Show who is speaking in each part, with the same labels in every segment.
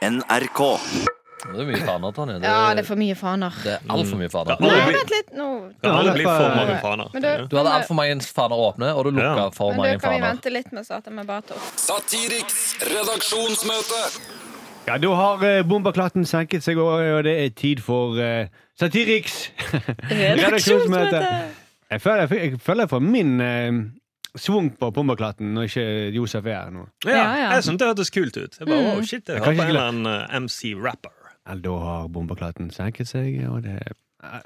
Speaker 1: NRK.
Speaker 2: Det er mye faner, Tonje. Det,
Speaker 3: Ja, det er for mye faner.
Speaker 2: det er altfor mye faner.
Speaker 3: Nei,
Speaker 4: det blir-
Speaker 3: vent litt nå.
Speaker 4: Kan alle bli for mange
Speaker 3: Men
Speaker 4: faner?
Speaker 3: du-
Speaker 2: Du hadde altfor mange faner åpne, og du lukka
Speaker 4: Ja.
Speaker 2: for
Speaker 3: Men
Speaker 2: mange
Speaker 3: du kan vi
Speaker 2: faner.
Speaker 3: vente litt med å starte med Bato.
Speaker 5: Satiriks redaksjonsmøte.
Speaker 6: Ja, da har eh, bombaklatten senket seg, og, og det er tid for eh, Satiriks redaksjonsmøte. Jeg føler jeg, jeg føler jeg får min eh, svung på bombaklatten når ikke Josef er her nå.
Speaker 4: Ja,
Speaker 3: Ja, ja.
Speaker 4: jeg syntes det hørtes kult ut. Jeg bare, wow, shit, jeg
Speaker 6: Jeg
Speaker 4: hører på
Speaker 6: kan ikke
Speaker 4: en eller annen eh, MC rapper.
Speaker 6: Eller da har bombaklatten senket seg, og det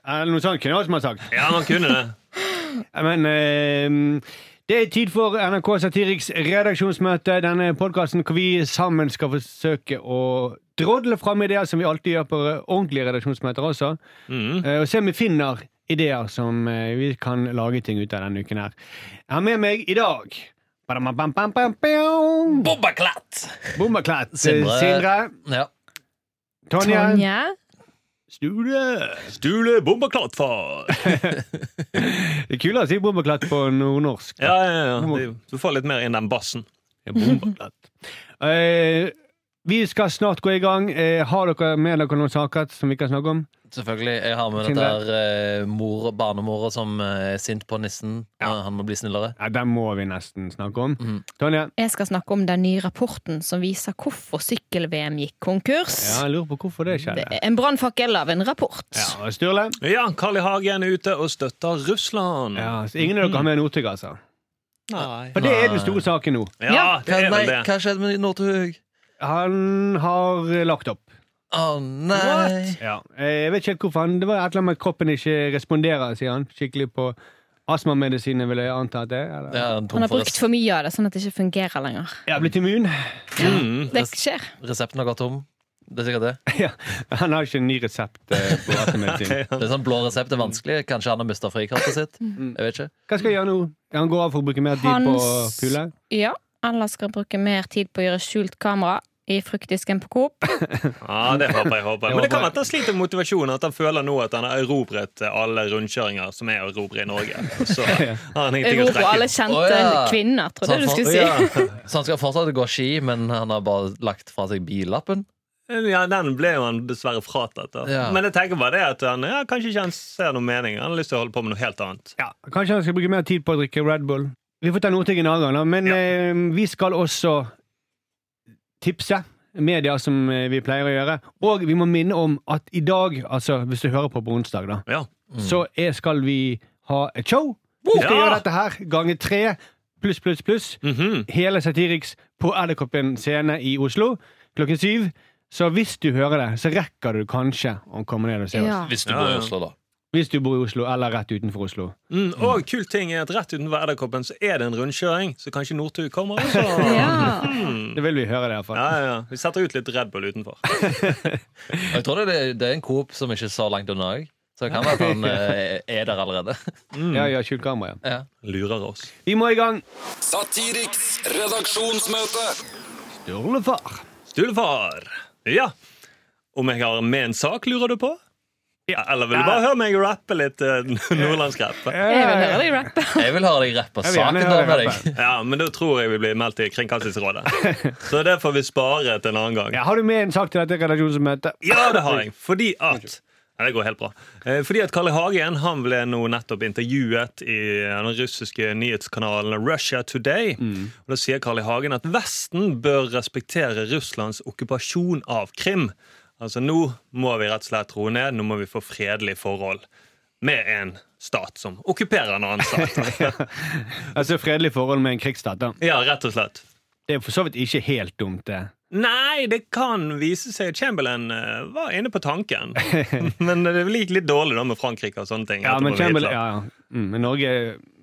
Speaker 6: Eller noe sånt kunne jeg også ha sagt.
Speaker 4: Ja, man kunne det.
Speaker 6: Men eh, det er tid for NRK Satiriks redaksjonsmøte. Denne podkasten hvor vi sammen skal forsøke å drodle fram ideer, som vi alltid gjør på ordentlige redaksjonsmøter også.
Speaker 3: Mm.
Speaker 4: Mhm.
Speaker 6: Eh, og se om vi finner ideer som eh, vi kan lage ting ut av denne uken her. Jeg har med meg i dag Badamabam-bam-bam-bam-bam.
Speaker 2: Bombaklatt!
Speaker 6: Bommerklett.
Speaker 2: Sindre.
Speaker 6: Sindre. eh, Sindre.
Speaker 2: Ja.
Speaker 6: Tonje.
Speaker 3: Tonje?
Speaker 6: Stule.
Speaker 4: Stule bombaklattfar!
Speaker 6: Det er kulere å si bommerklett på nordnorsk.
Speaker 4: Ja, ja, ja. Det- Du får litt mer inn den bassen.
Speaker 6: Eh, vi skal snart gå i gang. Eh, har dere med dere noen saker som vi kan snakke om?
Speaker 2: Selvfølgelig. Jeg har med dette
Speaker 6: Sindre.
Speaker 2: her eh, mor, barnemora som eh, er sint på nissen. Eh, Han må bli snillere.
Speaker 6: Ja, Den må vi nesten snakke om.
Speaker 2: Mhm.
Speaker 6: Tonje?
Speaker 3: Jeg skal snakke om den nye rapporten som viser hvorfor sykkel-VM gikk konkurs.
Speaker 6: Ja, jeg lurer på hvorfor det
Speaker 3: Det
Speaker 6: skjedde.
Speaker 3: er en brannfakkel av en rapport.
Speaker 6: Ja, og Sturle?
Speaker 4: Ja, Carl I. Hagen er ute og støtter Russland.
Speaker 6: Ja, så ingen av dere har med Northug, altså?
Speaker 4: Nei.
Speaker 6: For det er den store saken nå.
Speaker 4: Ja, det
Speaker 2: Hva,
Speaker 4: er
Speaker 2: nei,
Speaker 4: vel det.
Speaker 2: hva skjedde med Northug?
Speaker 6: Han har eh, lagt opp.
Speaker 2: Å nei!
Speaker 6: Ja. Eh, Jeg vet ikke helt hvorfor. han Det var et eller annet med at kroppen ikke responderer, sier han. Skikkelig på astmamedisiner, vil jeg anta at det er. eller?
Speaker 2: Ja, han
Speaker 3: Han
Speaker 2: tom
Speaker 3: har
Speaker 2: for
Speaker 3: brukt
Speaker 2: res
Speaker 3: for mye av det, sånn at det ikke fungerer lenger.
Speaker 6: Jeg er blitt immun.
Speaker 4: Mm.
Speaker 3: Det skjer.
Speaker 2: resepten har gått tom. Det er sikkert det.
Speaker 6: Ja. Han har ikke en ny resept eh, på astmamedisin.
Speaker 2: Det er sånn Blå resept er vanskelig. Kanskje han har mista frikortet sitt.
Speaker 3: Mm.
Speaker 2: Jeg vet ikke.
Speaker 6: Hva skal jeg gjøre nå? Han går av for å bruke mer tid på å
Speaker 3: Hans-
Speaker 6: pule?
Speaker 3: Ja, Ella skal bruke mer tid på å gjøre skjult kamera i fruktdisken på Coop.
Speaker 4: Ja, det håper jeg. håper jeg. Men det kan være at han sliter med motivasjonen. At han føler nå at han har erobret alle rundkjøringer som er å erobre i Norge. Og Så har han ingenting å
Speaker 3: Roper alle
Speaker 4: strekke
Speaker 3: kjente
Speaker 2: Å, ja.
Speaker 3: kvinner, trodde jeg du
Speaker 2: han,
Speaker 3: skulle si.
Speaker 2: for- ja. så han skal fortsatt gå ski, men han har bare lagt fra seg billappen?
Speaker 4: Ja, Den ble jo han dessverre fratatt. da.
Speaker 2: Ja.
Speaker 4: Men jeg tenker bare det at han ja, kanskje ikke han ser noen mening. Han har lyst til å holde på med noe helt annet.
Speaker 6: Ja, Kanskje han skal bruke mer tid på å drikke Red Bull. Vi får ta Northug en annen gang, da. Men
Speaker 4: Ja.
Speaker 6: eh, vi skal også tipse media, som eh, vi pleier å gjøre. Og vi må minne om at i dag, altså hvis du hører på på onsdag, da,
Speaker 4: Ja.
Speaker 6: Mm. så er, skal vi ha et show. Vi skal
Speaker 4: Ja!
Speaker 6: gjøre dette her ganger tre pluss, pluss, pluss.
Speaker 4: Mhm.
Speaker 6: hele Satiriks på Edderkoppen scene i Oslo klokken syv. Så hvis du hører det, så rekker du kanskje å komme ned og se oss.
Speaker 3: Ja.
Speaker 2: Hvis
Speaker 4: du bor i Oslo,
Speaker 2: da.
Speaker 6: Hvis du bor i Oslo, eller rett utenfor Oslo.
Speaker 4: mm, og kul ting er at rett utenfor Edderkoppen så er det en rundkjøring, så kanskje Northug kommer også.
Speaker 3: Ja.
Speaker 4: Mm.
Speaker 6: Det vil vi høre, det iallfall.
Speaker 4: Ja, ja, ja. Vi setter ut litt Red Bull utenfor.
Speaker 2: Jeg tror det, det er en Coop som ikke er så langt unna òg. Så det kan være at han eh, er der allerede.
Speaker 6: fall Ja, ja, skjult kamera, ja.
Speaker 2: Ja.
Speaker 4: Lurer oss.
Speaker 6: Vi må i gang.
Speaker 5: Satiriks redaksjonsmøte.
Speaker 6: Sturlefar.
Speaker 4: Stulefar. Ja. Om jeg har med en sak, lurer du på? Ja, eller vil du bare høre meg rappe litt eh, nordlandsk-rapp?
Speaker 6: Eh,
Speaker 3: Jeg vil høre deg rappe.
Speaker 2: Jeg vil høre deg rappe
Speaker 6: Jeg vil gjerne
Speaker 2: saken da
Speaker 6: høre
Speaker 2: med
Speaker 6: deg
Speaker 2: deg.
Speaker 4: Ja, men da tror jeg vi blir meldt til Kringkastingsrådet. Så det får vi spare til en annen gang.
Speaker 6: Ja, har du med en sak til dette redaksjonsmøtet?
Speaker 4: Ja, det har jeg. Fordi at Nei, det går helt bra. Eh, Fordi at Karl I. Hagen han ble nå nettopp intervjuet i den russiske nyhetskanalen Russia Today. Og Da sier Karl I. Hagen at Vesten bør respektere Russlands okkupasjon av Krim. Altså Nå må vi rett og slett roe ned. Nå må vi få fredelige forhold med en stat som okkuperer en annen stat.
Speaker 6: Altså fredelig forhold med en krigsstat, da.
Speaker 4: Ja, rett og slett.
Speaker 6: Det er for så vidt ikke helt dumt, det.
Speaker 4: Nei, det kan vise seg. Chamberlain eh, var inne på tanken. men det gikk litt dårlig da med Frankrike og sånne ting.
Speaker 6: Ja,
Speaker 4: etterpå
Speaker 6: men
Speaker 4: med
Speaker 6: Chamberlain
Speaker 4: Hitler.
Speaker 6: ja, ja. Mm, Men Norge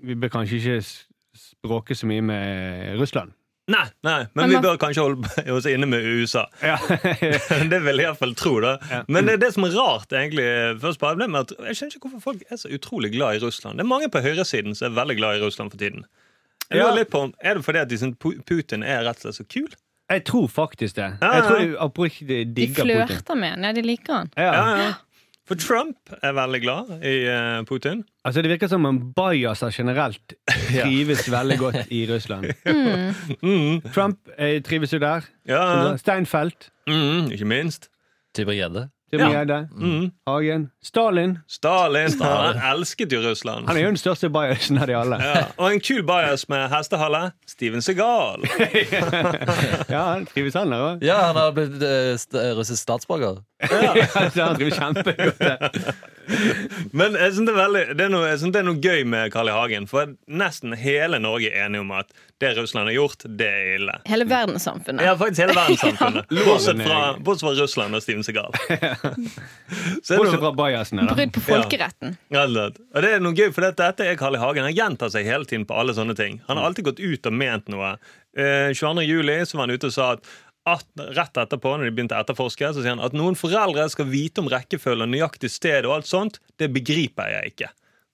Speaker 6: Vi bør kanskje ikke s- språke så mye med Russland.
Speaker 4: Nei, nei, men,
Speaker 3: Men
Speaker 4: vi
Speaker 3: man-
Speaker 4: bør kanskje holde oss inne med USA.
Speaker 6: Ja.
Speaker 4: det vil jeg iallfall tro, da. Men det er det som er rart, egentlig. Først bare ble med at Jeg skjønner ikke hvorfor folk er så utrolig glad i Russland. Det er mange på høyresiden som er veldig glad i Russland for tiden. Jeg
Speaker 6: Ja.
Speaker 4: lurer litt på om, Er det fordi at de syns Pu- Putin er rett og slett så kul?
Speaker 6: Jeg tror faktisk det.
Speaker 4: Ja,
Speaker 6: Jeg tror
Speaker 4: ja.
Speaker 6: de oppriktig
Speaker 3: De
Speaker 6: digger Putin.
Speaker 3: flørter med han. Ja, de liker han.
Speaker 6: Ja.
Speaker 4: Ja, ja. For Trump er veldig glad i eh, Putin.
Speaker 6: Altså Det virker som om bajaser generelt trives veldig godt i Russland.
Speaker 4: Mm.
Speaker 6: Trump eh, trives jo der.
Speaker 4: Ja, ja.
Speaker 6: Steinfeld
Speaker 4: Mm, ikke minst.
Speaker 2: Tybring-Gjedde.
Speaker 6: Tybring-Gjedde,
Speaker 4: Mm.
Speaker 6: Hagen, Stalin.
Speaker 4: Stalin,
Speaker 2: Stalin.
Speaker 4: han elsket jo Russland.
Speaker 6: Han er jo den største bajasen av de alle.
Speaker 4: Ja, og en kul bias med hestehale. Steven Segal.
Speaker 6: Ja, han trives han der òg.
Speaker 2: Ja, han har blitt eh, st russisk statsborger.
Speaker 6: Han trives kjempegodt. der.
Speaker 4: Men jeg synes det, er veldig, det, er noe, jeg synes det er noe gøy med Carl I. Hagen. For nesten hele Norge er enige om at det Russland har gjort, det er ille.
Speaker 3: Hele
Speaker 4: Mm. Ja,
Speaker 3: verdenssamfunnet.
Speaker 4: faktisk hele verdenssamfunnet. Bortsett
Speaker 6: Loven er
Speaker 4: fra,
Speaker 6: grei.
Speaker 4: bortsett fra Russland og Steven Segal. Så er det
Speaker 6: Bortsett
Speaker 4: noe,
Speaker 6: fra bajasene, da.
Speaker 3: Brudd på folkeretten.
Speaker 4: Ja, det er det. og det er noe gøy, for dette, dette er Carl I. Hagen. Han gjentar seg hele tiden på alle sånne ting. Han har alltid gått ut og ment noe. Eh, 22. juli så var han ute og sa at at rett etterpå, når de begynte å etterforske, så sier han at noen foreldre skal vite om rekkefølge og nøyaktig sted og alt sånt. Det begriper jeg ikke.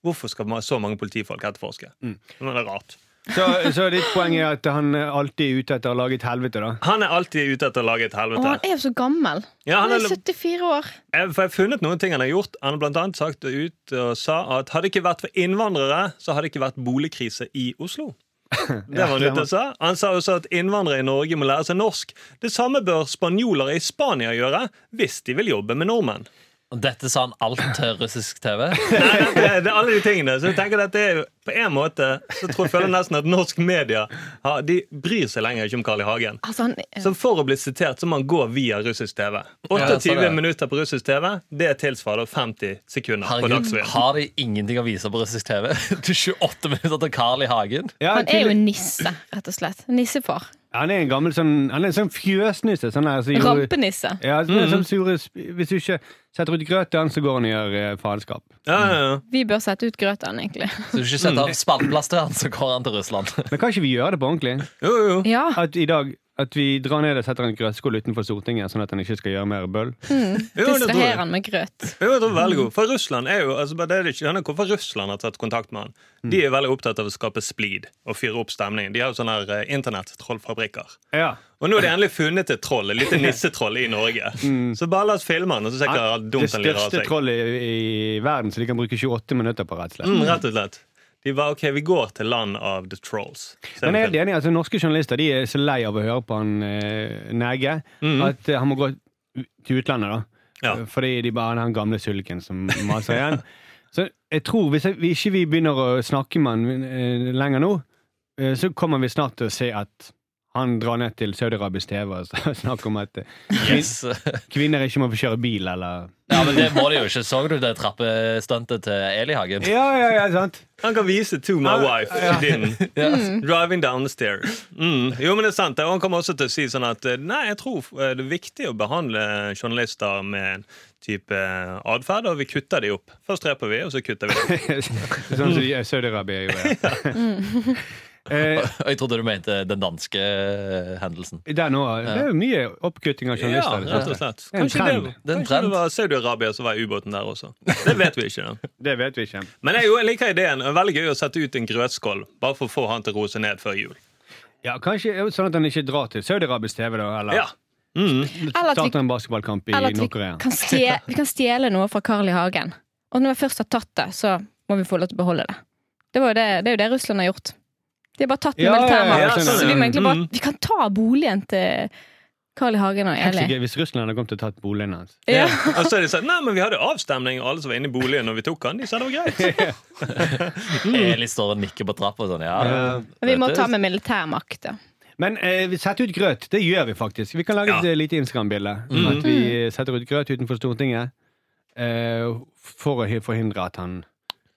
Speaker 4: Hvorfor skal man- så mange politifolk etterforske? Men Det er rart.
Speaker 6: Så, så ditt poeng er at han eh, alltid er ute etter å lage et helvete, da?
Speaker 4: Han er alltid ute etter å lage et
Speaker 3: Og han
Speaker 4: helvete.
Speaker 3: er jo så gammel.
Speaker 4: Ja, han
Speaker 3: Han
Speaker 4: er-
Speaker 3: er 74 år.
Speaker 4: Jeg, Eh, for jeg har funnet noen ting han har gjort. Han har blant annet sagt ut og sa at hadde det ikke vært for innvandrere, så hadde det ikke vært boligkrise i Oslo. Det var Han ute og sa Han sa også at innvandrere i Norge må lære seg norsk. Det samme bør spanjoler i Spania gjøre hvis de vil jobbe med nordmenn.
Speaker 2: Og Dette sa han alt til russisk TV.
Speaker 4: Nei, nei, det, det er alle de tingene Så jeg tenker at det er jo På en måte så tror jeg føler jeg nesten at norsk media har, De bryr seg lenger ikke om Carl I. Hagen.
Speaker 3: Altså, han,
Speaker 4: Så for å bli sitert så må han gå via russisk TV.
Speaker 2: Ja, så
Speaker 4: 28
Speaker 2: det.
Speaker 4: minutter på russisk TV, det tilsvarer 50 sekunder på
Speaker 2: Herregud,
Speaker 4: Dagsrevyen.
Speaker 2: har de ingenting å vise på russisk TV? Til 28 minutter til Carl I. Hagen.
Speaker 6: Ja,
Speaker 3: han er jo
Speaker 6: tydelig-
Speaker 3: en nisse, rett og slett. Nissefar.
Speaker 6: han er en gammel sånn Han er en sånn fjøsnisse. Sånn der, som gjorde-
Speaker 3: Rampenisse.
Speaker 6: Ja, sånn, sånn sure, sp- hvis du ikke setter ut grøt til han, så går han og gjør eh, faenskap.
Speaker 4: Ja, ja, ja.
Speaker 3: Vi bør sette ut grøten, egentlig.
Speaker 2: Så du ikke setter av spalteplass til han, så går han til Russland.
Speaker 6: Men kan ikke vi gjøre det på ordentlig?
Speaker 4: Jo, jo.
Speaker 3: Ja.
Speaker 6: At i dag at vi drar ned og setter en grøtskål utenfor Stortinget, sånn at han ikke skal gjøre mer bøll?
Speaker 4: Jo, det tror jeg.
Speaker 3: Distraher han med grøt.
Speaker 4: Jo, jeg tror veldig god. For Russland er jo altså, bare det er det ikke, skjønner Hvorfor Russland har tatt kontakt med han. De er veldig opptatt av å skape splid og fyre opp stemningen. De har jo sånne her, eh, internett-trollfabrikker.
Speaker 6: Ja.
Speaker 4: Og nå har de endelig funnet et troll, et lite nissetroll i Norge. Så bare la oss filme han, og så ser vi hvor
Speaker 6: det
Speaker 4: dumt han lir av
Speaker 6: største
Speaker 4: seg.
Speaker 6: trollet i, i verden, så de kan bruke 28 minutter på, rett og slett.
Speaker 4: Mm, rett og slett. De var OK, vi går til land av the trolls. Ser
Speaker 6: Men jeg er
Speaker 4: vi
Speaker 6: helt enig, altså Norske journalister de er så lei av å høre på han eh, Nægge at eh, han må gå til utlandet. da
Speaker 4: Ja.
Speaker 6: Eh, Fordi de bare han er den gamle sulken som maser igjen. så jeg tror hvis jeg, vi ikke vi begynner å snakke med han eh, lenger nå, eh, så kommer vi snart til å se at han drar ned til Saudi-Arabisk TV og så snakker om at eh,
Speaker 2: Yes.
Speaker 6: kvinner ikke må få kjøre bil, eller
Speaker 2: Ja, men det må de jo ikke. Så du det trappestuntet til Eli Hagen?
Speaker 6: Ja, ja, ja, sant?
Speaker 4: Han kan vise to my wife din. Driving down the stairs. Mm. Jo, men det er sant. Og han kommer også til å si sånn at eh, nei, jeg tror eh, det er viktig å behandle journalister med en type eh, atferd, og vi kutter de opp. Først dreper vi, og så kutter vi.
Speaker 6: sånn som de i Saudi-Arabia gjorde. Eh,
Speaker 2: Og jeg trodde du mente den danske eh, hendelsen.
Speaker 6: Der nå, Det er jo mye oppkutting av
Speaker 4: Ja,
Speaker 6: journalister.
Speaker 4: rett og slett.
Speaker 6: Det er en
Speaker 4: Kanskje det,
Speaker 2: Det
Speaker 6: trend.
Speaker 2: er en
Speaker 4: kanskje
Speaker 2: trend.
Speaker 4: det var Saudi-Arabia som var i ubåten der også. Det vet vi ikke. da.
Speaker 6: Det vet vi ikke.
Speaker 4: Men jeg, jo, jeg liker ideen. Det er Veldig gøy å sette ut en grøtskål bare for å få han til å roe seg ned før jul.
Speaker 6: Ja, Kanskje eh, sånn at han ikke drar til Saudi-Arabisk TV, da? Eller
Speaker 4: Ja. Mm.
Speaker 3: Eller at vi
Speaker 6: starter en basketballkamp i
Speaker 3: Eller at vi
Speaker 6: Nord-Korea.
Speaker 3: kan, stjele, vi kan stjele noe fra Carl I. Hagen. Og når vi først har tatt det, så må vi få lov til å beholde det. Det, var jo det, det er jo det Russland har gjort. De har bare tatt den
Speaker 6: Ja, ja,
Speaker 3: militærmannen.
Speaker 4: ja, sånn,
Speaker 3: så vi må
Speaker 4: ja.
Speaker 3: egentlig bare
Speaker 4: Mm.
Speaker 3: Vi kan ta boligen til Carl I. Hagen og
Speaker 6: Tenk så
Speaker 3: Eli.
Speaker 6: gøy Hvis Russland hadde kommet og tatt boligen hans.
Speaker 3: Ja.
Speaker 4: Og så har de sagt nei, men vi hadde avstemning, og alle som var inne i boligen når vi tok han, de sa det var greit.
Speaker 2: Eli står og nikker på trappa og sånn. Ja.
Speaker 6: Ja.
Speaker 3: Vi må
Speaker 2: Dette-
Speaker 3: ta med militærmakt, da.
Speaker 6: Men eh, vi setter ut grøt. Det gjør vi faktisk. Vi kan lage et
Speaker 4: Ja.
Speaker 6: eh, lite Instagram-bilde. At vi eh, setter ut grøt utenfor Stortinget eh, for å he- forhindre at han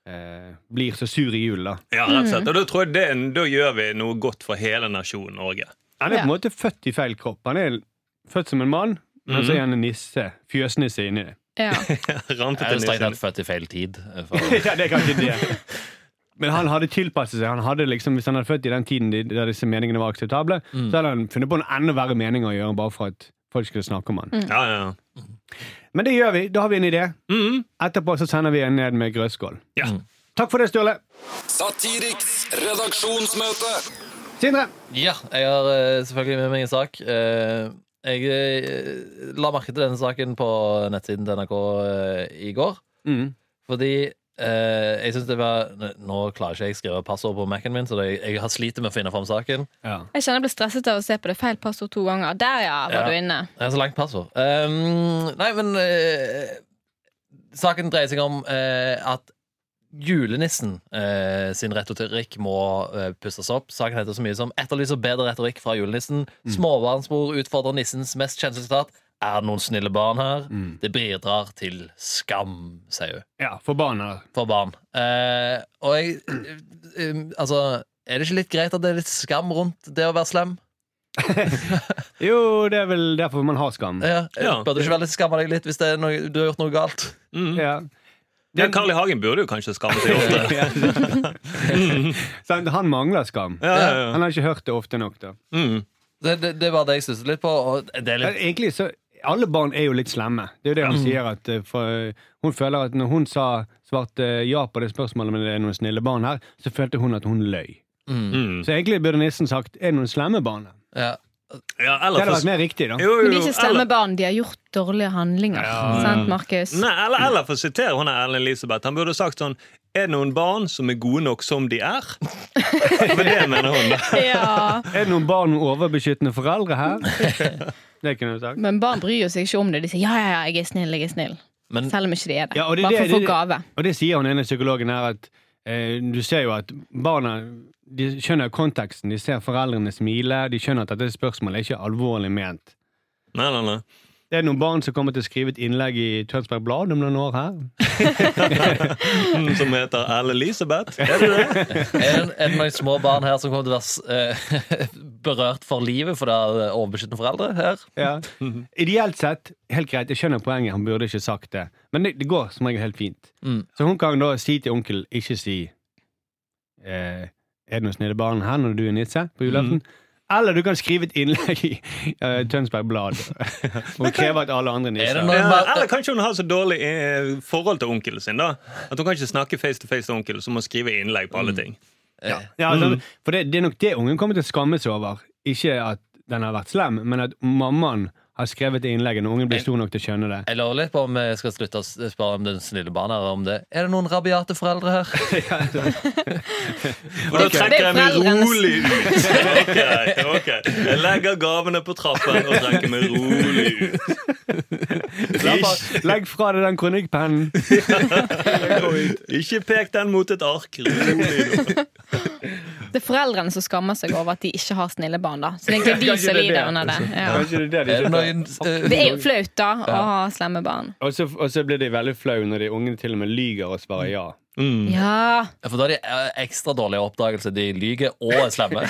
Speaker 6: eh, blir så sur i julen, da.
Speaker 4: Ja, rett og slett. Og da tror jeg det, da gjør vi noe godt for hele nasjonen Norge.
Speaker 6: Han er
Speaker 3: Ja.
Speaker 6: på en måte født i feil kropp. Han er født som en mann, men så er han en nisse. Fjøsnisse inni det.
Speaker 3: Ja.
Speaker 4: Rampete
Speaker 2: Jeg er jo strengt
Speaker 4: nissen.
Speaker 2: tatt født i feil tid. eh, For,
Speaker 6: ja, det kan ikke det. Men han hadde tilpasset seg. Han hadde liksom, hvis han hadde født i den tiden de- der disse meningene var akseptable, så hadde han funnet på en enda verre mening å gjøre bare for at folk skulle snakke om han.
Speaker 4: Ja, ja, ja.
Speaker 6: Men det gjør vi. Da har vi en idé.
Speaker 4: Mhm.
Speaker 6: Etterpå så sender vi en ned med grøtskål.
Speaker 4: ja.
Speaker 6: Takk for det, Sturle.
Speaker 5: Satiriks redaksjonsmøte.
Speaker 6: Sindre.
Speaker 2: Ja, jeg har eh, selvfølgelig med meg en sak. Eh, jeg eh, la merke til denne saken på nettsiden til NRK eh, i går. Fordi eh, eh, jeg synes det var Nå nå klarer ikke jeg å skrive passord på Mac-en min, så det, jeg har sliter med å finne fram saken.
Speaker 6: Ja.
Speaker 3: Jeg kjenner jeg ble stresset av å se på det feil passord to ganger. Der, ja, var
Speaker 2: Ja.
Speaker 3: du inne.
Speaker 2: Det er så langt passord. Ehm, nei, men eh, Saken dreier seg om eh, at julenissen eh, sin retorikk må eh, pusses opp. Saken heter så mye som 'Etterlyser bedre retorikk fra julenissen'. 'Småbarnsmor utfordrer nissens mest kjente sitat'. 'Er det noen snille barn her?'
Speaker 6: Mm.
Speaker 2: 'Det bidrar til skam', sier hun.
Speaker 6: ja Forbanna.
Speaker 2: For barn. Eh, og jeg eh, Altså, er det ikke litt greit at det er litt skam rundt det å være slem?
Speaker 6: Jo, det er vel derfor man har skam.
Speaker 2: Ja,
Speaker 4: Ja.
Speaker 2: Burde du ikke være litt skamme deg litt hvis det er noe, du har gjort noe galt?
Speaker 6: Ja.
Speaker 4: Ja, Carl I. Hagen burde jo kanskje skamme seg ofte.
Speaker 6: Ja, Mm. sant? Han mangler skam.
Speaker 4: Ja, ja, ja.
Speaker 6: Han har ikke hørt det ofte nok. da
Speaker 4: Mm.
Speaker 2: Det, det, det var det jeg stusset litt på. Og det er
Speaker 6: Men
Speaker 2: litt,
Speaker 6: Egentlig så Alle barn er jo litt slemme. Det er jo det han
Speaker 3: Mm.
Speaker 6: sier. At, eh, for, hun føler at når hun sa svarte ja på det spørsmålet om det er noen snille barn her, så følte hun at hun løy.
Speaker 4: Mm.
Speaker 6: Så egentlig burde nissen sagt er det noen slemme barn her.
Speaker 2: ja.
Speaker 4: Ja,
Speaker 6: Det
Speaker 4: eller
Speaker 6: hadde
Speaker 4: for,
Speaker 6: vært mer riktig, da.
Speaker 4: jo, jo,
Speaker 3: Men de er ikke slemme
Speaker 4: eller,
Speaker 3: barn. De har gjort dårlige handlinger. Sant, Markus?
Speaker 4: nei, eller, eller for å sitere hun er Erlend Elisabeth. Han burde sagt sånn Er det noen barn som er gode nok som de er? For det mener hun. da.
Speaker 3: Ja.
Speaker 6: Er det noen barn med overbeskyttende foreldre her? Det kunne du sagt.
Speaker 3: Men barn bryr jo seg ikke om det. De sier ja, ja, ja, jeg er snill, jeg er snill.
Speaker 2: Men
Speaker 3: Selv om ikke de er det.
Speaker 6: Ja, og det er
Speaker 3: Bare
Speaker 6: det-
Speaker 3: for å få
Speaker 6: det-
Speaker 3: gave.
Speaker 6: Og det sier hun ene psykologen her, at eh, du ser jo at barna de skjønner konteksten. De ser foreldrene smile, de skjønner at dette spørsmålet er ikke alvorlig ment.
Speaker 4: Nei, nei, nei.
Speaker 6: Det er noen barn som kommer til å skrive et innlegg i Tønsberg Blad om noen år her.
Speaker 4: Mm, Som heter Erlend Elisabeth. Er det det?
Speaker 2: er det, er det noen små barn her som kommer til å være eh, berørt for livet fordi det er overbeskyttende foreldre her?
Speaker 6: Ja. Ideelt sett, helt greit, jeg skjønner poenget, han burde ikke sagt det. Men det, det går som regel helt fint.
Speaker 2: Mm.
Speaker 6: Så hun kan da si til onkel, ikke si eh, Er det noen snille barn her når du er nisse
Speaker 2: Mm.
Speaker 6: på julaften? Eller du kan skrive et innlegg i eh, Tønsberg Blad og kreve at alle
Speaker 2: Er
Speaker 6: andre
Speaker 2: det
Speaker 6: nisser
Speaker 2: noen
Speaker 4: Ja,
Speaker 2: bar-
Speaker 4: eller kanskje hun har så dårlig eh, forhold til onkelen sin da at hun kan ikke snakke face to face til onkelen, så må hun skrive innlegg på alle ting.
Speaker 2: Eh,
Speaker 6: ja, altså,
Speaker 2: Mm.
Speaker 6: For det, det er nok det ungen kommer til å skamme seg over. Ikke at den har vært slem, men at mammaen har skrevet det innlegget når ungen blir stor nok til å skjønne det.
Speaker 2: Jeg lurer litt på om jeg skal slutte å s- spørre om den snille barn her. Om det. Er det noen rabiate foreldre her?
Speaker 4: Og da
Speaker 3: Ok.
Speaker 4: trekker jeg meg
Speaker 3: Det er foreldrenes-
Speaker 4: rolig ut. Ok, ok Jeg legger gavene på trappen og trekker meg rolig ut.
Speaker 6: Ikke- Legg fra deg den kronikkpennen.
Speaker 4: Ikke pek den mot et ark. Rolig nå.
Speaker 3: Det er foreldrene som skammer seg over at de ikke har snille barn, da. Så det er egentlig de
Speaker 6: Kanskje
Speaker 3: som
Speaker 6: det er det.
Speaker 3: lider under det. Ja.
Speaker 6: Kanskje det er
Speaker 2: Er
Speaker 6: det
Speaker 2: det
Speaker 6: de ikke
Speaker 2: noen
Speaker 3: Det
Speaker 2: eh,
Speaker 3: er jo flaut, da, å ha slemme barn.
Speaker 6: Og så, og så blir de veldig flau når de ungene til og med lyger og svarer ja. Mm.
Speaker 3: Ja.
Speaker 2: For da er de eh, ekstra dårlige oppdagelser. De lyver og er slemme.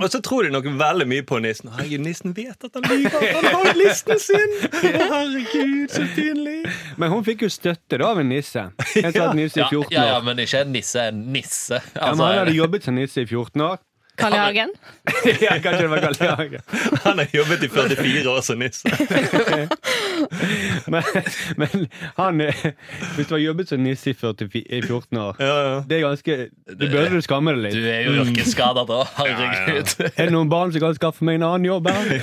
Speaker 4: Og så tror de nok veldig mye på nissen. Herregud, nissen vet at han lyver. Han har jo listen sin! Å, Herregud, så pinlig.
Speaker 6: Men hun fikk jo støtte da av en nisse. Jeg sa at nisse i
Speaker 2: Ja,
Speaker 6: 14 år.
Speaker 2: ja, ja, men ikke en nisse. En nisse.
Speaker 6: Ja, men
Speaker 2: Altså,
Speaker 6: han hadde jobbet som nisse i 14 år.
Speaker 3: Karl I. Hagen?
Speaker 6: ja, kanskje det var Karl I. Hagen.
Speaker 4: Han har jobbet i 44 år som nisse.
Speaker 6: Men, men han eh, Hvis du har jobbet som nisse i 44 i 14 år
Speaker 4: Ja, ja.
Speaker 6: Det er ganske Du burde du skamme deg
Speaker 2: du
Speaker 6: litt.
Speaker 2: er jo yrkesskada da. Herregud.
Speaker 6: Er det noen barn som kan skaffe meg en annen jobb? her?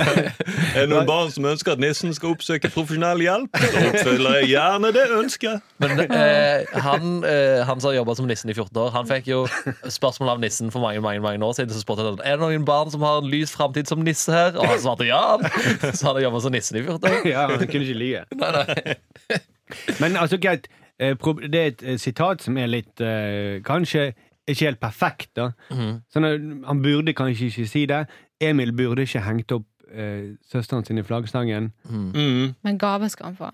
Speaker 4: Er det noen barn som ønsker at nissen skal oppsøke profesjonell hjelp? Da oppfyller jeg gjerne det ønsket.
Speaker 2: Men eh, han, eh, han som har jobba som nissen i 14 år, han fikk jo spørsmål av nissen for mange mange, mange år siden. Så spurte han er det noen barn som har en lys framtid som nisse her. Og han svarte ja. Så han har jobba som nissen i 14 år.
Speaker 6: Ja, han kunne ikke lyge.
Speaker 2: Nei, nei.
Speaker 6: Men altså, greit, eh, prob- det er et eh, sitat som er litt eh, Kanskje ikke helt perfekt, da.
Speaker 4: Mhm.
Speaker 6: Sånn at han burde kanskje ikke si det. Emil burde ikke hengt opp eh, søsteren sin i flaggstangen.
Speaker 4: Mm.
Speaker 3: Men gave skal han få.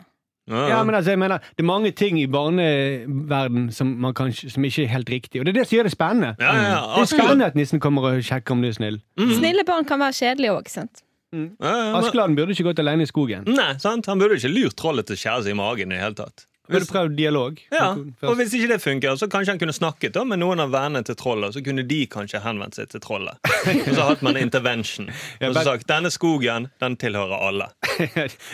Speaker 6: Ja, men altså, jeg mener, Det er mange ting i barneverden som, man kanskje, som ikke er helt riktig, og det er det som gjør det spennende. Mm.
Speaker 4: Ja, ja, ja.
Speaker 6: Det er spennende at nissen kommer og sjekker om du er snill.
Speaker 3: Snille barn kan være kjedelige òg, sant?
Speaker 4: Ja, ja, men- Mm.
Speaker 6: Askeladden burde ikke gått alene i skogen.
Speaker 4: Nei, sant? Han burde ikke lurt trollet til å skjære seg i magen. i det hele tatt
Speaker 6: Burde prøvd dialog.
Speaker 4: ja, Og hvis ikke det funker, så kanskje han kunne snakket da, med noen av vennene til trollet. Så kunne de kanskje henvendt seg til trollet. Og så hatt man intervention. Og så sagt denne skogen den tilhører alle.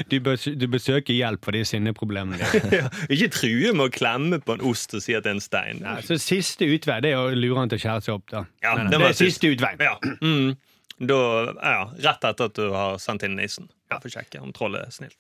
Speaker 6: du, bes du besøker hjelp for de sinneproblemene dine.
Speaker 4: Ja, ikke true med å klemme på en ost og si at det er en stein.
Speaker 6: Ja, så Altså, siste utvei det er å lure han til å skjære seg opp, da.
Speaker 4: Ja,
Speaker 6: Nei, nei,
Speaker 4: det var
Speaker 6: det er siste utvei.
Speaker 4: Ja. Mm. Da, ja, rett etter at du har sendt inn nissen. Ja, Få sjekke om trollet er snilt.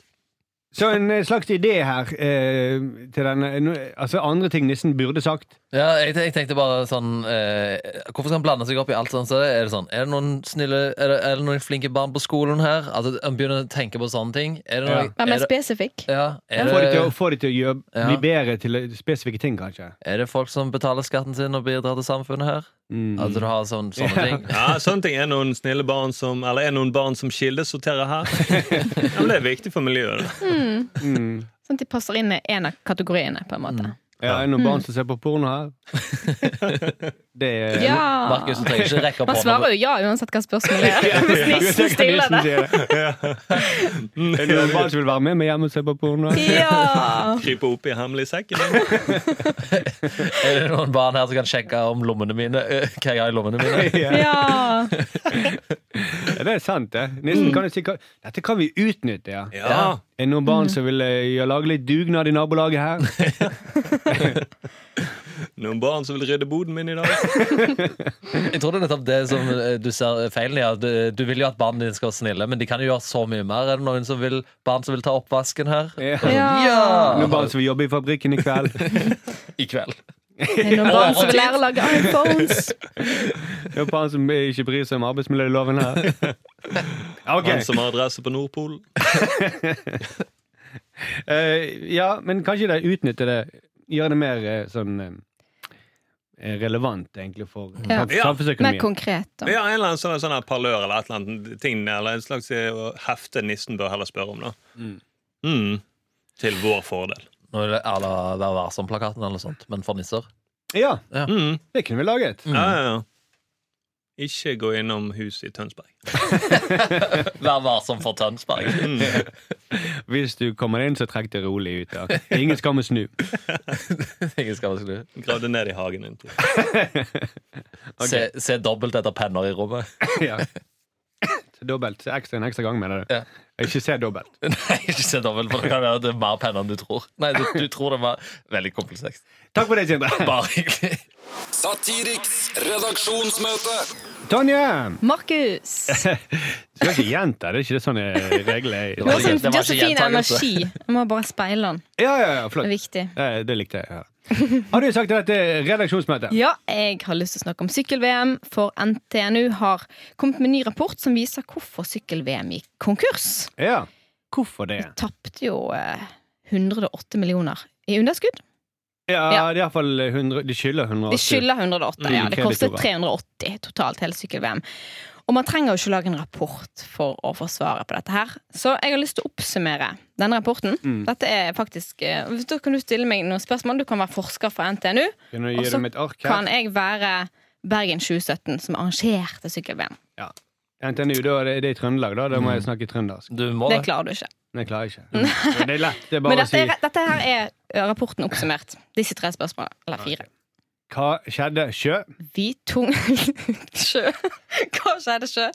Speaker 6: Så en eh, slags idé her eh, til denne nå- Altså andre ting nissen burde sagt.
Speaker 2: Ja, jeg, jeg tenkte bare sånn eh, Hvorfor skal han blande seg opp i alt sånn? Så er det sånn, er det noen snille Er det, er det noen flinke barn på skolen her? Altså, Han begynner å tenke på sånne ting. Er det noe,
Speaker 3: Vær mer
Speaker 2: er det,
Speaker 3: spesifikk.
Speaker 2: ja, er
Speaker 6: Få de til å,
Speaker 2: det,
Speaker 6: få de til å gjøre,
Speaker 2: Ja.
Speaker 6: bli bedre til eh, spesifikke ting, kanskje.
Speaker 2: er det folk som betaler skatten sin og bidrar til samfunnet her?
Speaker 6: Mm.
Speaker 2: At du har sånn, sånne ting?
Speaker 4: Ja, sånne ting. Er noen snille barn som Eller er noen barn som kildesorterer her? Ja, men Det er viktig for miljøet. da.
Speaker 6: Mm.
Speaker 3: Sånn at de passer inn i en av kategoriene, på en måte.
Speaker 6: Ja, er det
Speaker 3: Mm.
Speaker 6: noen barn som ser på porno her? Det er
Speaker 3: Ja!
Speaker 2: Markus, du trenger ikke rekke opp
Speaker 3: Man
Speaker 2: hånda.
Speaker 3: svarer jo ja uansett hva spørsmålet er. Hvis nissen
Speaker 6: Uansett hva
Speaker 3: stiller
Speaker 6: nissen
Speaker 3: det.
Speaker 6: sier det. Er det noen barn som vil være med meg hjem og se på porno?
Speaker 3: Ja!
Speaker 4: Krype opp i hemmelig sekk. eller?
Speaker 2: Er det noen barn her som kan sjekke om lommene mine eh, hva jeg har i lommene mine?
Speaker 3: Ja!
Speaker 6: Ja, det er sant, det. Nissen kan jo si hva- Dette kan vi utnytte, ja.
Speaker 4: Ja.
Speaker 6: Er det noen barn som vil eh, gjøre- lage litt dugnad i nabolaget her?
Speaker 4: Noen barn som vil rydde boden min i dag.
Speaker 2: Jeg tror det er nettopp det som eh, du ser feilen i. at Du, eh, du vil jo at barna dine skal være snille, men de kan jo gjøre så mye mer. Er det noen som vil, barn som vil ta oppvasken her?
Speaker 6: Ja.
Speaker 3: ja.
Speaker 6: Noen barn som vil jobbe i fabrikken i kveld?
Speaker 2: I kveld.
Speaker 3: Er det noen barn som vil lære å lage iPhones?
Speaker 6: Noen barn som ikke bryr seg om arbeidsmiljøloven her? Ok,
Speaker 4: Han som har adresse på Nordpolen.
Speaker 6: eh, Ja, men kanskje de utnytter det. Gjør det mer eh, sånn eh, relevant, egentlig, for
Speaker 3: Ja.
Speaker 6: sam-
Speaker 3: Mer
Speaker 6: samfunnsøkonomien.
Speaker 3: konkret, da.
Speaker 4: Ja, en eller annen sånn, sånn her parlør eller et eller annet ting, eller en slags eh, hefte nissen bør heller spørre om. da. Mm. Til vår fordel.
Speaker 2: Nå er det à la Vær varsom-plakaten eller noe sånt, men for nisser.
Speaker 6: Ja,
Speaker 4: Mm.
Speaker 6: det kunne vi laget.
Speaker 4: Ja, ja, ja. Ikke gå innom huset i Tønsberg.
Speaker 2: Vær varsom for Tønsberg.
Speaker 4: Mm.
Speaker 6: Hvis du kommer inn, så trekk det rolig ut. Ja. Ingen skal må snu.
Speaker 2: Ingen skal være snill.
Speaker 4: Gravde ned i hagen din.
Speaker 2: Se, se dobbelt etter penner i rommet.
Speaker 6: Ja. Så Dobbelt. Så ekstra en ekstra gang, mener du?
Speaker 2: Ja.
Speaker 6: Ikke se dobbelt.
Speaker 2: Nei, ikke se dobbelt, for det kan være at det er mer penner enn du tror. Nei, du, du tror det var veldig komplekst.
Speaker 6: Takk for det, Sindre.
Speaker 2: Bare hyggelig.
Speaker 5: Satiriks redaksjonsmøte.
Speaker 6: Tonje!
Speaker 3: Markus!
Speaker 6: Du skal ikke gjenta det. er ikke det sånne regler er.
Speaker 2: Det
Speaker 3: Du
Speaker 2: var
Speaker 3: har
Speaker 2: ikke- det
Speaker 3: sånn
Speaker 2: var ikke
Speaker 3: Josefin
Speaker 2: gjentagelse.
Speaker 3: energi. Jeg må bare speile den.
Speaker 6: Ja, ja, ja,
Speaker 3: Det
Speaker 6: flott.
Speaker 3: er viktig.
Speaker 6: Det, det likte jeg. Ja. Har du sagt at dette er redaksjonsmøte?
Speaker 3: Ja, jeg har lyst til å snakke om sykkel-VM, for NTNU har kommet med en ny rapport som viser hvorfor sykkel-VM gikk konkurs.
Speaker 6: Ja. Hvorfor det?
Speaker 3: Tapte jo eh, 108 millioner i underskudd.
Speaker 6: Ja,
Speaker 3: Ja.
Speaker 6: det er iallfall 100 De skylder 180.
Speaker 3: De skylder 108.
Speaker 6: Mm,
Speaker 3: ja, Det kostet
Speaker 6: kreditorer.
Speaker 3: 380 totalt, hele sykkel-VM. Og man trenger jo ikke lage en rapport for å forsvare på dette her. Så jeg har lyst til å oppsummere denne rapporten.
Speaker 6: Mm.
Speaker 3: Dette er faktisk eh, Da kan du stille meg noen spørsmål. Du kan være forsker fra NTNU.
Speaker 6: Kan du gi
Speaker 3: Og så
Speaker 6: dem et ark her?
Speaker 3: Kan jeg være Bergen 2017, som arrangerte sykkel-VM?
Speaker 6: NTNU, da er det, det er i Trøndelag, da. Da må
Speaker 3: Mm.
Speaker 6: jeg snakke trøndersk.
Speaker 2: Du må
Speaker 3: Det
Speaker 2: det.
Speaker 3: klarer du ikke.
Speaker 6: Det klarer jeg ikke. Men Det er lett. Det er
Speaker 3: Men
Speaker 6: bare å
Speaker 3: dette,
Speaker 6: si
Speaker 3: er, dette her er eh, rapporten oppsummert. Disse tre spørsmålene. Eller fire.
Speaker 6: Hva skjedde? Sjø?
Speaker 3: Vi tung... Sjø. Hva skjedde sjø?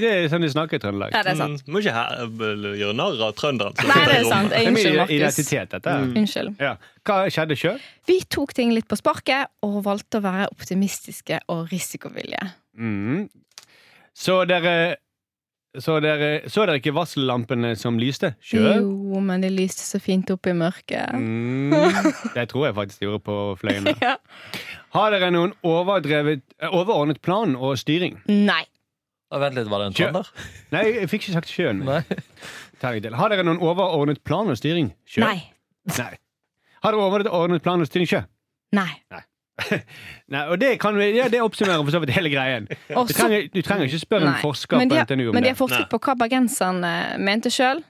Speaker 6: Det er sånn de snakker i Trøndelag.
Speaker 3: Ja, det er sant.
Speaker 4: Mm. Må ikke her, vel, gjøre narr av trønderen. som
Speaker 3: Nei,
Speaker 4: sitter i
Speaker 3: det er
Speaker 4: rommet.
Speaker 3: sant. Jeg,
Speaker 6: Det er mye
Speaker 3: unnskyld, Markus.
Speaker 6: identitet, dette. her.
Speaker 3: Unnskyld.
Speaker 6: Ja. Hva skjedde sjø?
Speaker 3: Vi tok ting litt på sparket og valgte å være optimistiske og risikovillige.
Speaker 6: Mm. Så dere så dere, så dere ikke varsellampene som lyste? Sjø?
Speaker 3: Jo, men det lyste så fint opp i mørket.
Speaker 6: Mm. Det tror jeg faktisk de gjorde på Fløyen.
Speaker 3: Ja.
Speaker 6: Har dere noen overdrevet, eh, overordnet plan og styring?
Speaker 3: Nei.
Speaker 2: Å, Vent litt, var det en trønder?
Speaker 6: Nei, jeg fikk ikke sagt sjøen.
Speaker 2: Nei.
Speaker 6: Tar jeg til. Har dere noen overordnet plan og styring? Sjø?
Speaker 3: Nei.
Speaker 6: Nei. Har dere overordnet plan og styring sjø?
Speaker 3: Nei.
Speaker 6: Nei, og det, kan vi, ja, det oppsummerer for så vidt hele greien.
Speaker 3: Og
Speaker 6: Du
Speaker 3: så-
Speaker 6: trenger, du trenger ikke spørre en
Speaker 3: Nei.
Speaker 6: forsker
Speaker 3: Men de
Speaker 6: på
Speaker 3: har-
Speaker 6: NTNU om
Speaker 3: Men de
Speaker 6: det.
Speaker 3: har forsket på hva bergenserne mente sjøl,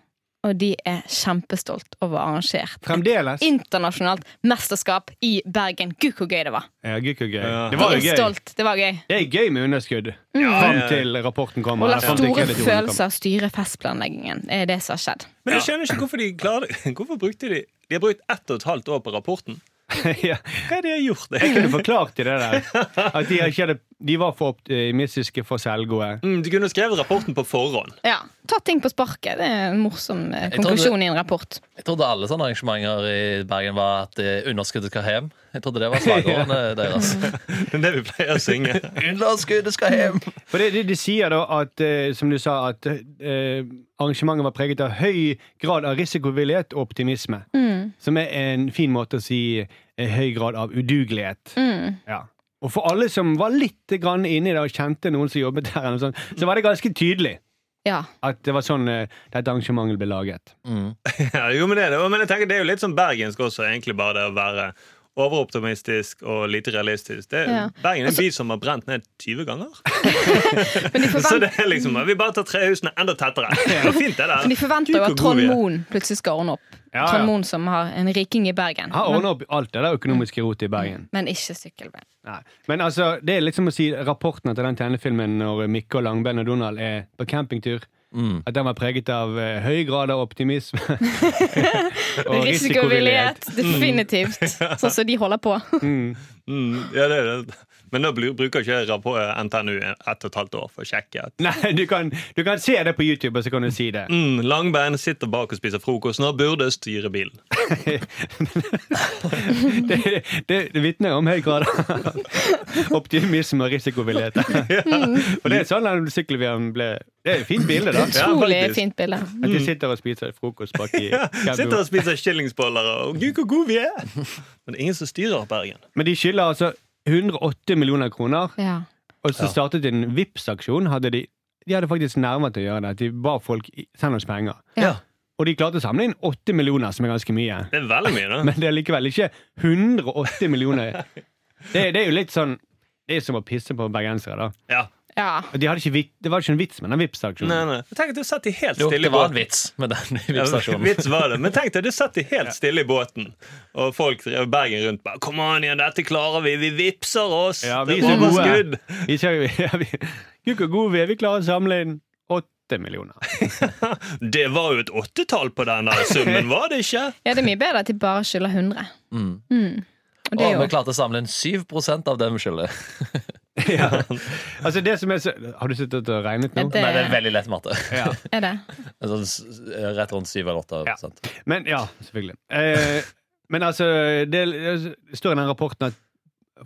Speaker 3: og de er kjempestolt over å ha arrangert et
Speaker 6: Fremdeles.
Speaker 3: internasjonalt mesterskap i Bergen. Gud, hvor gøy det var!
Speaker 6: Ja, gøy, gøy, gøy.
Speaker 4: Ja.
Speaker 6: Det
Speaker 3: De
Speaker 6: var
Speaker 3: er
Speaker 6: jo gøy.
Speaker 3: stolt. Det var gøy.
Speaker 6: Det er gøy med underskudd. Fram til rapporten kommer.
Speaker 3: Og la
Speaker 6: eller frem til
Speaker 3: store
Speaker 6: kreditoren kommer.
Speaker 3: følelser styre festplanleggingen. Det er det som har skjedd.
Speaker 4: Men jeg skjønner ikke hvorfor de klarer det. Hvorfor brukte de De har brukt ett og et halvt år på rapporten.
Speaker 6: ja,
Speaker 4: Hva er det jeg har gjort?
Speaker 6: jeg
Speaker 4: Det?
Speaker 6: kunne forklart til det der. At de, ikke hadde, de var for optimistiske, for selvgode.
Speaker 4: Mm, du kunne skrevet rapporten på forhånd.
Speaker 3: Ja, Ta ting på sparket. Det er en morsom eh,
Speaker 2: Jeg tror det-
Speaker 3: konklusjon i en rapport.
Speaker 2: Jeg trodde alle sånne arrangementer i Bergen var at eh, underskuddet skal hjem. Jeg trodde det var slagordene deres.
Speaker 4: Det er det vi pleier å synge.
Speaker 2: Underskuddet skal hjem!
Speaker 6: For det, det de sier da, at, eh, som du sa, at eh, arrangementet var preget av høy grad av risikovillighet og optimisme.
Speaker 3: Mm.
Speaker 6: Som er en fin måte å si eh, høy grad av udugelighet.
Speaker 3: Mm.
Speaker 6: Ja. Og for alle som var litt grann inne i det og kjente noen som jobbet der, eller noe sånt, så var det ganske tydelig
Speaker 3: Ja.
Speaker 6: at det var sånn eh, dette arrangementet ble laget.
Speaker 4: Mm. Ja, jo, men det, er det. men jeg tenker, det er jo litt sånn bergensk også, egentlig bare det å være overoptimistisk og lite realistisk. Det,
Speaker 3: Ja. Altså-
Speaker 4: Bergen er en by som har brent ned 20 ganger.
Speaker 3: Men de
Speaker 4: Så
Speaker 3: forventer,
Speaker 4: det er liksom, vi bare tar trehusene enda tettere. Det er fint, det der.
Speaker 3: men de forventer jo
Speaker 4: Gud,
Speaker 3: at
Speaker 4: hvor god
Speaker 3: Trond
Speaker 4: vi er.
Speaker 3: Moen plutselig skal ordne opp.
Speaker 6: Ja, ja.
Speaker 3: Trond Moen som har en riking i Bergen,
Speaker 6: Har
Speaker 3: men,
Speaker 6: ordna opp i alt det der økonomiske rotet i Bergen.
Speaker 4: Mm.
Speaker 3: men ikke sykkelbein.
Speaker 6: Nei. Men altså, det er liksom å si rapportene til den tegnefilmen når Mikke og Langbein og Donald er på campingtur.
Speaker 4: Mm.
Speaker 6: At den var preget av eh, høy grad av optimisme. og risikovillighet.
Speaker 3: Risikovillighet, definitivt. Sånn som de holder på.
Speaker 4: Mm, ja, det er det. Men da bru- bruker ikke jeg rapport- eh, NTNU ett og et halvt år for å sjekke. at
Speaker 6: Nei, du kan, du kan se det på YouTube, og så kan du si det.
Speaker 4: mm, Langbein sitter bak og spiser frokost når burde styre bilen.
Speaker 6: Det, det, det vitner om høy grad av optimisme og risikovillighet.
Speaker 4: Mm.
Speaker 6: Og det er sånn den sykkelveien ble Det er et fint bilde, da.
Speaker 4: Ja,
Speaker 3: Utrolig
Speaker 4: faktisk.
Speaker 3: fint bilde.
Speaker 6: At de sitter og spiser frokost bak i
Speaker 4: Mm. Sitter
Speaker 6: campingvognen.
Speaker 4: og spiser kyllingsboller og gud, hvor gode vi er! Men det er ingen som styrer Bergen.
Speaker 6: Men de skylder altså 108 millioner kroner.
Speaker 3: Ja.
Speaker 6: Og så
Speaker 4: Ja.
Speaker 6: startet de en Vipps-aksjon. Hadde de, de hadde faktisk nærmet til å gjøre det. at De ba folk i- send oss penger.
Speaker 3: Ja.
Speaker 6: Og de klarte å samle inn 8 millioner, som er ganske mye.
Speaker 4: Det er veldig mye, da.
Speaker 6: Men det er likevel ikke 108 millioner. Det, det er jo litt sånn Det er som å pisse på bergensere, da.
Speaker 4: Ja.
Speaker 3: ja.
Speaker 6: Og De hadde ikke, vit- det var ikke en vits med den
Speaker 4: Nei,
Speaker 6: Vipps-aksjonen.
Speaker 4: nei. Tenk at du satt de helt
Speaker 2: Jo,
Speaker 4: stille
Speaker 2: det
Speaker 4: i
Speaker 2: var en
Speaker 4: båten.
Speaker 2: vits med den
Speaker 4: Ja,
Speaker 2: VIP-stasjonen.
Speaker 4: vits var det. Men tenk deg, du satt de helt stille i båten, og folk drev Bergen rundt bare 'Kom an igjen, dette klarer vi! Vi vipser oss!
Speaker 6: Ja,
Speaker 4: det
Speaker 6: vi
Speaker 4: er
Speaker 6: er så
Speaker 4: overskudd!'
Speaker 6: Vi sa jo ja, vi- Gud, hvor gode vi er. Vi klarer å samle inn 8 millioner.
Speaker 4: Det var jo et åttetall på den der summen, var det ikke?
Speaker 3: ja, det er mye bedre at de bare skylder 100.
Speaker 2: Mm.
Speaker 3: Mm. Og
Speaker 2: Og
Speaker 3: det er
Speaker 2: vi
Speaker 3: jo
Speaker 2: klarte å samle inn 7 av det vi skylder.
Speaker 6: Ja. Altså, det som er så Har du sittet og regnet nå?
Speaker 3: Det-
Speaker 2: Nei, det er veldig lett matte.
Speaker 6: Ja.
Speaker 3: er det.
Speaker 2: Sånn, s- rett rundt 7 eller 8 prosent.
Speaker 6: Men ja, selvfølgelig. Eh, men altså, det, det står i den rapporten at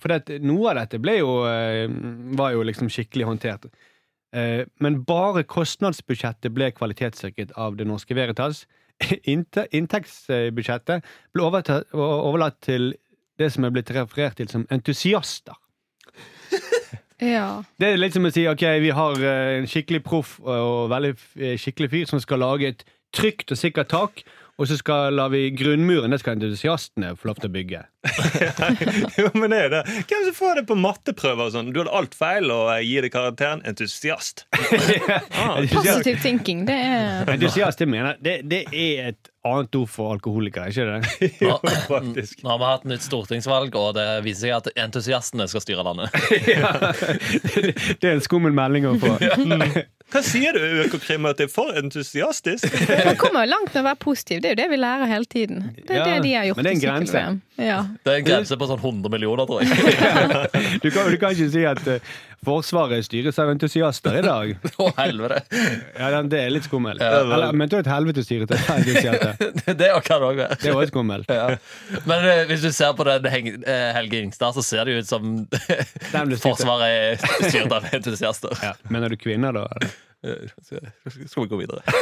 Speaker 6: For det, at noe av dette ble jo, eh, var jo liksom skikkelig håndtert. Eh, men bare kostnadsbudsjettet ble kvalitetssikret av Det Norske Veritas. Innte, inntektsbudsjettet ble overta- overlatt til det som er blitt referert til som entusiaster.
Speaker 3: Ja.
Speaker 6: Det er litt som å si ok, vi har eh, en skikkelig proff og veldig f- eh, skikkelig fyr som skal lage et trygt og sikkert tak, og så skal lar vi grunnmuren, det skal entusiastene få lov til å bygge.
Speaker 4: Jo, men det er det. Hvem som får det på matteprøver og sånn? Du hadde alt feil, og jeg gir deg karakteren entusiast.
Speaker 6: Entusiast,
Speaker 3: Positive thinking, det er
Speaker 6: entusiast det mener det, det er et annet ord for alkoholiker, ikke det?
Speaker 2: Nå,
Speaker 4: faktisk.
Speaker 2: nå har vi hatt nytt stortingsvalg, og det viser seg at entusiastene skal styre landet.
Speaker 6: Det er en skummel melding å få.
Speaker 4: Hva sier du, Økokrim, at det er for entusiastisk?
Speaker 3: Man kommer jo langt med å være positiv. Det er jo det vi lærer hele tiden. Det er
Speaker 6: Ja,
Speaker 3: det de har gjort.
Speaker 6: men det er en
Speaker 3: i
Speaker 6: grense.
Speaker 3: sykkel-VM. Ja.
Speaker 2: Det er en grense på sånn 100 millioner, tror jeg.
Speaker 6: Du kan, du kan ikke si at eh, Forsvaret styres av entusiaster i dag.
Speaker 2: Å, helvete.
Speaker 6: Ja, den- Det er litt skummelt. Eller mente du et helvete styret av entusiaster?
Speaker 2: Det kan òg være.
Speaker 6: Det er også skummelt.
Speaker 2: Ja. Men eh, hvis du ser på den heng, eh, Helge Ingstad, så ser det jo ut som
Speaker 6: ble styrt av-
Speaker 2: Forsvaret er styrt av entusiaster.
Speaker 6: Ja. Mener du kvinner, da? eller?
Speaker 2: Eh, Skal skal vi gå videre?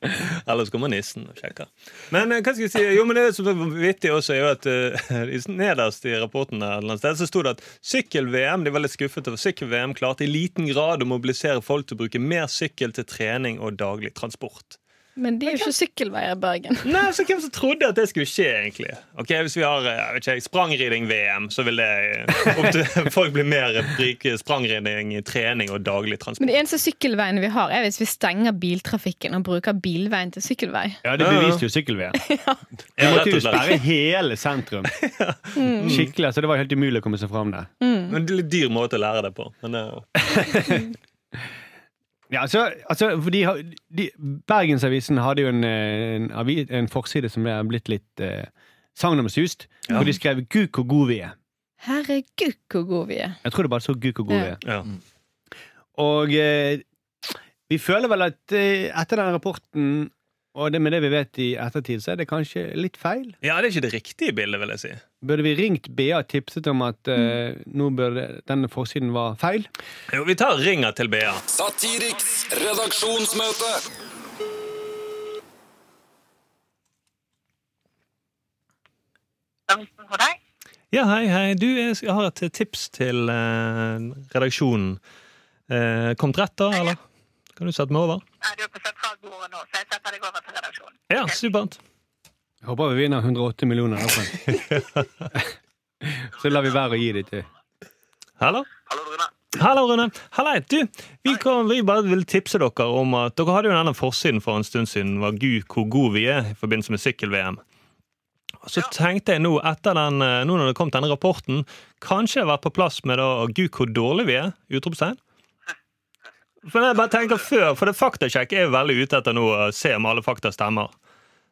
Speaker 4: Eller så kommer nissen og sjekker. Men eh, hva skal jeg si? Jo, men det som er vittig også, er jo at eh, i- nederst i rapporten der, et eller annet sted, så sto det at sykkel-VM de var litt skuffet over sykkel-VM klarte i liten grad å mobilisere folk til å bruke mer sykkel til trening og daglig transport.
Speaker 3: Men det er jo ikke sykkelveier i Bergen.
Speaker 4: Nei, så Hvem som trodde at det skulle skje, egentlig? Ok, Hvis vi har eh, jeg vet ikke, sprangriding-VM, så vil det eh, opp til folk blir mer eh, bruke sprangriding i trening og daglig
Speaker 3: Men
Speaker 4: transport.
Speaker 3: de eneste sykkelveiene vi har, er hvis vi stenger biltrafikken og bruker bilveien til sykkelvei.
Speaker 6: Ja, det
Speaker 4: Ja, ja.
Speaker 6: beviste jo sykkel-VM. Vi
Speaker 4: Ja,
Speaker 6: måtte
Speaker 4: rett
Speaker 6: jo
Speaker 4: og slett.
Speaker 6: sperre hele sentrum. Skikkelig, altså Det var helt umulig å komme seg fram der.
Speaker 3: Mm.
Speaker 4: Men det er litt dyr måte å lære det på. Men eh, det er jo-
Speaker 6: Ja, altså, altså for de, har- de, Bergensavisen hadde jo en, eh, en, avi- en forside som ble blitt litt eh, sagnomsust,
Speaker 4: Ja.
Speaker 6: hvor de skrev 'Gud, hvor god vi er'.
Speaker 3: Herregud, hvor gode vi er.
Speaker 6: Jeg tror det bare så 'Gud, hvor god
Speaker 3: Ja.
Speaker 6: vi er'.
Speaker 4: Ja.
Speaker 6: Og eh, vi føler vel at eh, etter den rapporten, og det med det vi vet i ettertid, så er det kanskje litt feil.
Speaker 4: ja, det er ikke det riktige bildet, vil jeg si.
Speaker 6: Burde vi ringt BA og tipset om at eh,
Speaker 4: Mm.
Speaker 6: nå burde denne forsiden var feil?
Speaker 4: Jo, vi tar ringer til BA.
Speaker 5: Satiriks redaksjonsmøte.
Speaker 4: Ja, hei, hei. Du, jeg skal- jeg har et tips til eh, redaksjonen. Eh, Komt rett da, eller? Kan du sette meg over?
Speaker 1: Nei, du er på sentralbordet nå, så jeg setter deg over til redaksjonen.
Speaker 4: Ja, supert.
Speaker 6: Jeg håper vi vinner 108 millioner. i hvert fall. så lar vi være å gi det til
Speaker 4: Hallo?
Speaker 1: Hallo, Rune.
Speaker 4: Hallo, Rune. Hallei. Du, vi, kan, vi bare vil tipse dere om at dere hadde jo denne forsiden for en stund siden var Gud, hvor god vi er i forbindelse med sykkel-VM. Og Så tenkte jeg nå, etter den, eh, nå når det kom til denne rapporten, kanskje jeg har vært på plass med da Gud, hvor dårlig vi er? Utropstegn. For jeg bare tenker før, for det faktasjekk er jo veldig ute etter nå å se om alle fakta stemmer.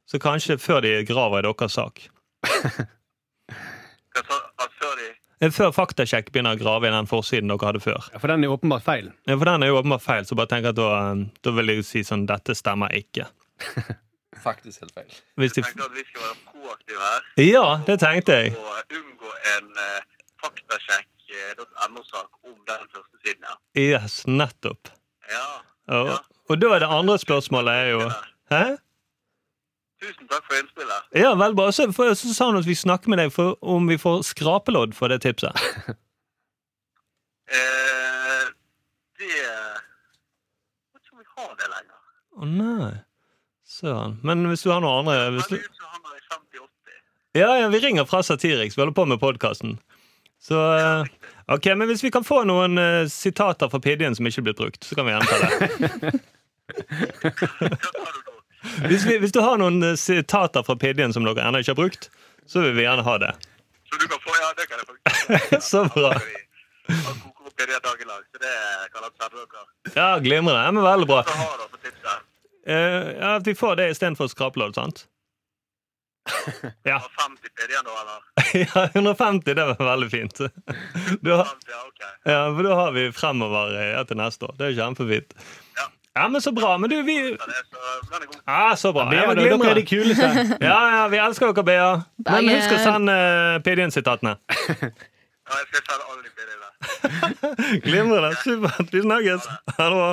Speaker 4: Så kanskje før de graver i deres sak.
Speaker 1: Hva sa altså, før de?
Speaker 4: Eh, Før faktasjekk begynner å grave i den forsiden dere hadde før.
Speaker 6: Ja, For den er åpenbart feil.
Speaker 4: Ja, for den er jo åpenbart feil, så bare tenk at da, um, da vil jeg jo si sånn Dette stemmer ikke.
Speaker 2: Faktisk helt feil.
Speaker 4: Hvis de,
Speaker 1: tenkte at vi skal være proaktive her
Speaker 4: ja, det tenkte jeg.
Speaker 1: og unngå en eh, faktasjekk.no-sak om den første siden her.
Speaker 4: Yes, nettopp.
Speaker 1: Ja.
Speaker 4: Og, og da er det andre spørsmålet er jo Hæ?
Speaker 1: Tusen takk for innspillet.
Speaker 4: Ja, vel bra. Så, for, så sa hun at vi snakker med deg for, om vi får skrapelodd for det tipset.
Speaker 1: Eh, det Jeg tror vi har det lenger.
Speaker 4: Å nei. Søren. Men hvis du har noen andre hvis du,
Speaker 1: Veldig ut som han er i 50-80.
Speaker 4: Ja, ja, vi ringer fra Satiriks. Vi holder på med podkasten. Så eh, OK, men hvis vi kan få noen eh, sitater fra Pidjen som ikke er blitt brukt, så kan vi gjerne ta det.
Speaker 1: Hva sa du nå?
Speaker 4: Hvis, vi, hvis du har noen eh, sitater fra Pidjen som dere ennå ikke har brukt, så vil vi gjerne ha det.
Speaker 1: Så du kan få Ja, det kan jeg faktisk.
Speaker 4: Så bra.
Speaker 1: Han koker opp i det dag i lag, så det kan han sette dere.
Speaker 4: Ja, Glimrende. Ja, men Veldig bra.
Speaker 1: Så har dere på tipset.
Speaker 4: Eh, ja, at vi får det istedenfor skrapelodd, sant? Ja.
Speaker 1: Har 50 PD nå, eller?
Speaker 4: ja, 150, det var veldig fint. Du har,
Speaker 1: 50, ja, ok.
Speaker 4: ja, for da har vi fremover eh, ja, til neste år. Det er kjempefint. Ja, men så bra. Men du, vi
Speaker 1: Ja, det er så, den er god.
Speaker 4: Ja, så bra. Ja,
Speaker 6: Ja,
Speaker 4: men
Speaker 6: dere dere er de
Speaker 4: glimrende.
Speaker 6: kuleste.
Speaker 4: Ja, ja, vi elsker dere, Bea. Men husk å
Speaker 3: Bergen.
Speaker 4: sende uh, Pidjen-sitatene.
Speaker 1: Ja, jeg skal sende alle de PD-ene.
Speaker 4: Glimrende. Supert. Vi snakkes. Ha det bra.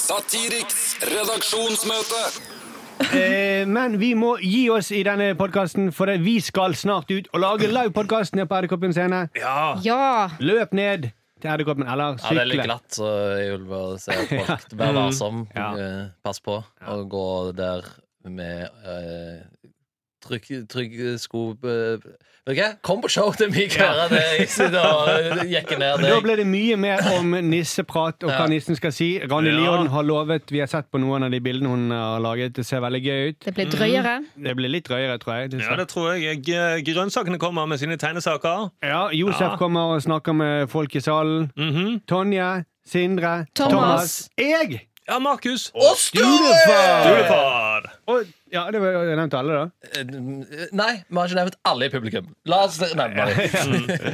Speaker 5: Satiriks redaksjonsmøte.
Speaker 6: Eh, men vi må gi oss i denne podkasten, for det- vi skal snart ut og lage livepodkast nede på Edderkoppen scene.
Speaker 3: Ja!
Speaker 6: Løp ned til Edderkoppen, eller
Speaker 2: Ja, det er litt
Speaker 6: sykle.
Speaker 2: glatt, så jeg vil bare si at folk vær varsom.
Speaker 6: Ja.
Speaker 2: eh, Pass på å gå der med eh, trygg, trygg sko eh, Vet du hva? Kom på show til mye høyere det jeg sitter og eh, jekker ned
Speaker 6: Da
Speaker 2: deg.
Speaker 6: ble det mye mer om nisseprat og
Speaker 2: Ja.
Speaker 6: hva nissen skal si. Randi
Speaker 4: Ja.
Speaker 6: Lion har lovet, vi har sett på noen av de bildene hun har laget. Det ser veldig gøy ut.
Speaker 3: Det blir drøyere.
Speaker 6: Det blir litt drøyere, tror jeg. Det
Speaker 4: Ja,
Speaker 6: ser-
Speaker 4: det tror jeg. G- Grønnsakene kommer med sine tegnesaker.
Speaker 6: Ja, Josef
Speaker 4: Ja.
Speaker 6: kommer og snakker med folk i salen.
Speaker 4: Mhm.
Speaker 6: Tonje, Sindre,
Speaker 3: Thomas.
Speaker 6: Jeg!
Speaker 4: Ja, Markus!
Speaker 2: Og
Speaker 6: Sturefar!
Speaker 4: Julefar!
Speaker 6: Og, ja, det var jeg nevnte alle, da.
Speaker 2: Eh, Nei, vi har ikke nevnt alle i publikum. La oss nevne dem.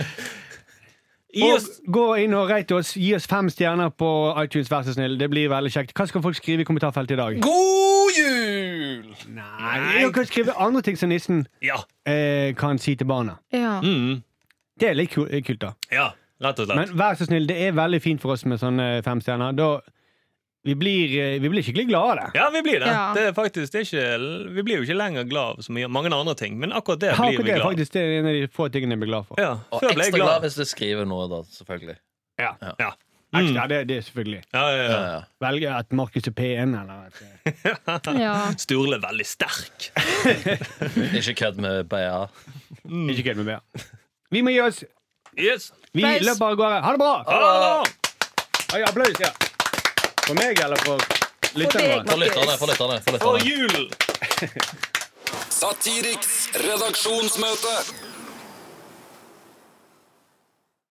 Speaker 4: Gi oss
Speaker 6: Og gå inn og rate oss. Gi oss fem stjerner på iTunes, vær så snill. Det blir veldig kjekt. Hva skal folk skrive i kommentarfeltet i dag?
Speaker 2: God jul!
Speaker 6: Nei, Dere kan skrive andre ting som nissen
Speaker 4: Ja.
Speaker 6: eh, kan si til barna.
Speaker 3: Ja.
Speaker 4: Mm.
Speaker 6: Det er litt ku- kult, da.
Speaker 4: ja. Rett og slett.
Speaker 6: Men vær så snill, det er veldig fint for oss med sånne fem stjerner. Da, vi, blir, eh, vi blir skikkelig glad av det.
Speaker 4: Ja, vi blir det.
Speaker 3: Ja.
Speaker 4: det er faktisk, det er ikke, vi blir jo ikke lenger glad av så mye, mange andre ting, men akkurat det
Speaker 6: Akkurat
Speaker 4: blir vi
Speaker 6: det, er
Speaker 4: glad av.
Speaker 6: faktisk, det er en av de få tingene jeg blir glad for.
Speaker 4: Ja,
Speaker 2: Og
Speaker 4: før ble jeg
Speaker 2: ekstra glad
Speaker 4: glad.
Speaker 2: hvis du skriver noe, da, selvfølgelig.
Speaker 6: Ja.
Speaker 4: Ja.
Speaker 6: Ekstra,
Speaker 4: Mm.
Speaker 6: ja, det, det er selvfølgelig.
Speaker 4: Ja, ja,
Speaker 2: Ja,
Speaker 4: ja.
Speaker 2: ja.
Speaker 6: Velge at Markus er P1, eller at, eh,
Speaker 3: ja.
Speaker 4: Sturle er veldig sterk.
Speaker 2: Ikke kødd med BA.
Speaker 6: Ikke kødd med mer. Vi må gi oss.
Speaker 4: Yes.
Speaker 6: Vi
Speaker 3: Applaus.
Speaker 6: løper av gårde. Ha det bra!
Speaker 4: Ha det!
Speaker 6: Oi, applaus, ja. For meg, eller for lytterne?
Speaker 3: deg,
Speaker 2: For lytterne, for lytterne. For
Speaker 4: For
Speaker 2: lytterne.
Speaker 4: jul!
Speaker 5: Satiriks redaksjonsmøte.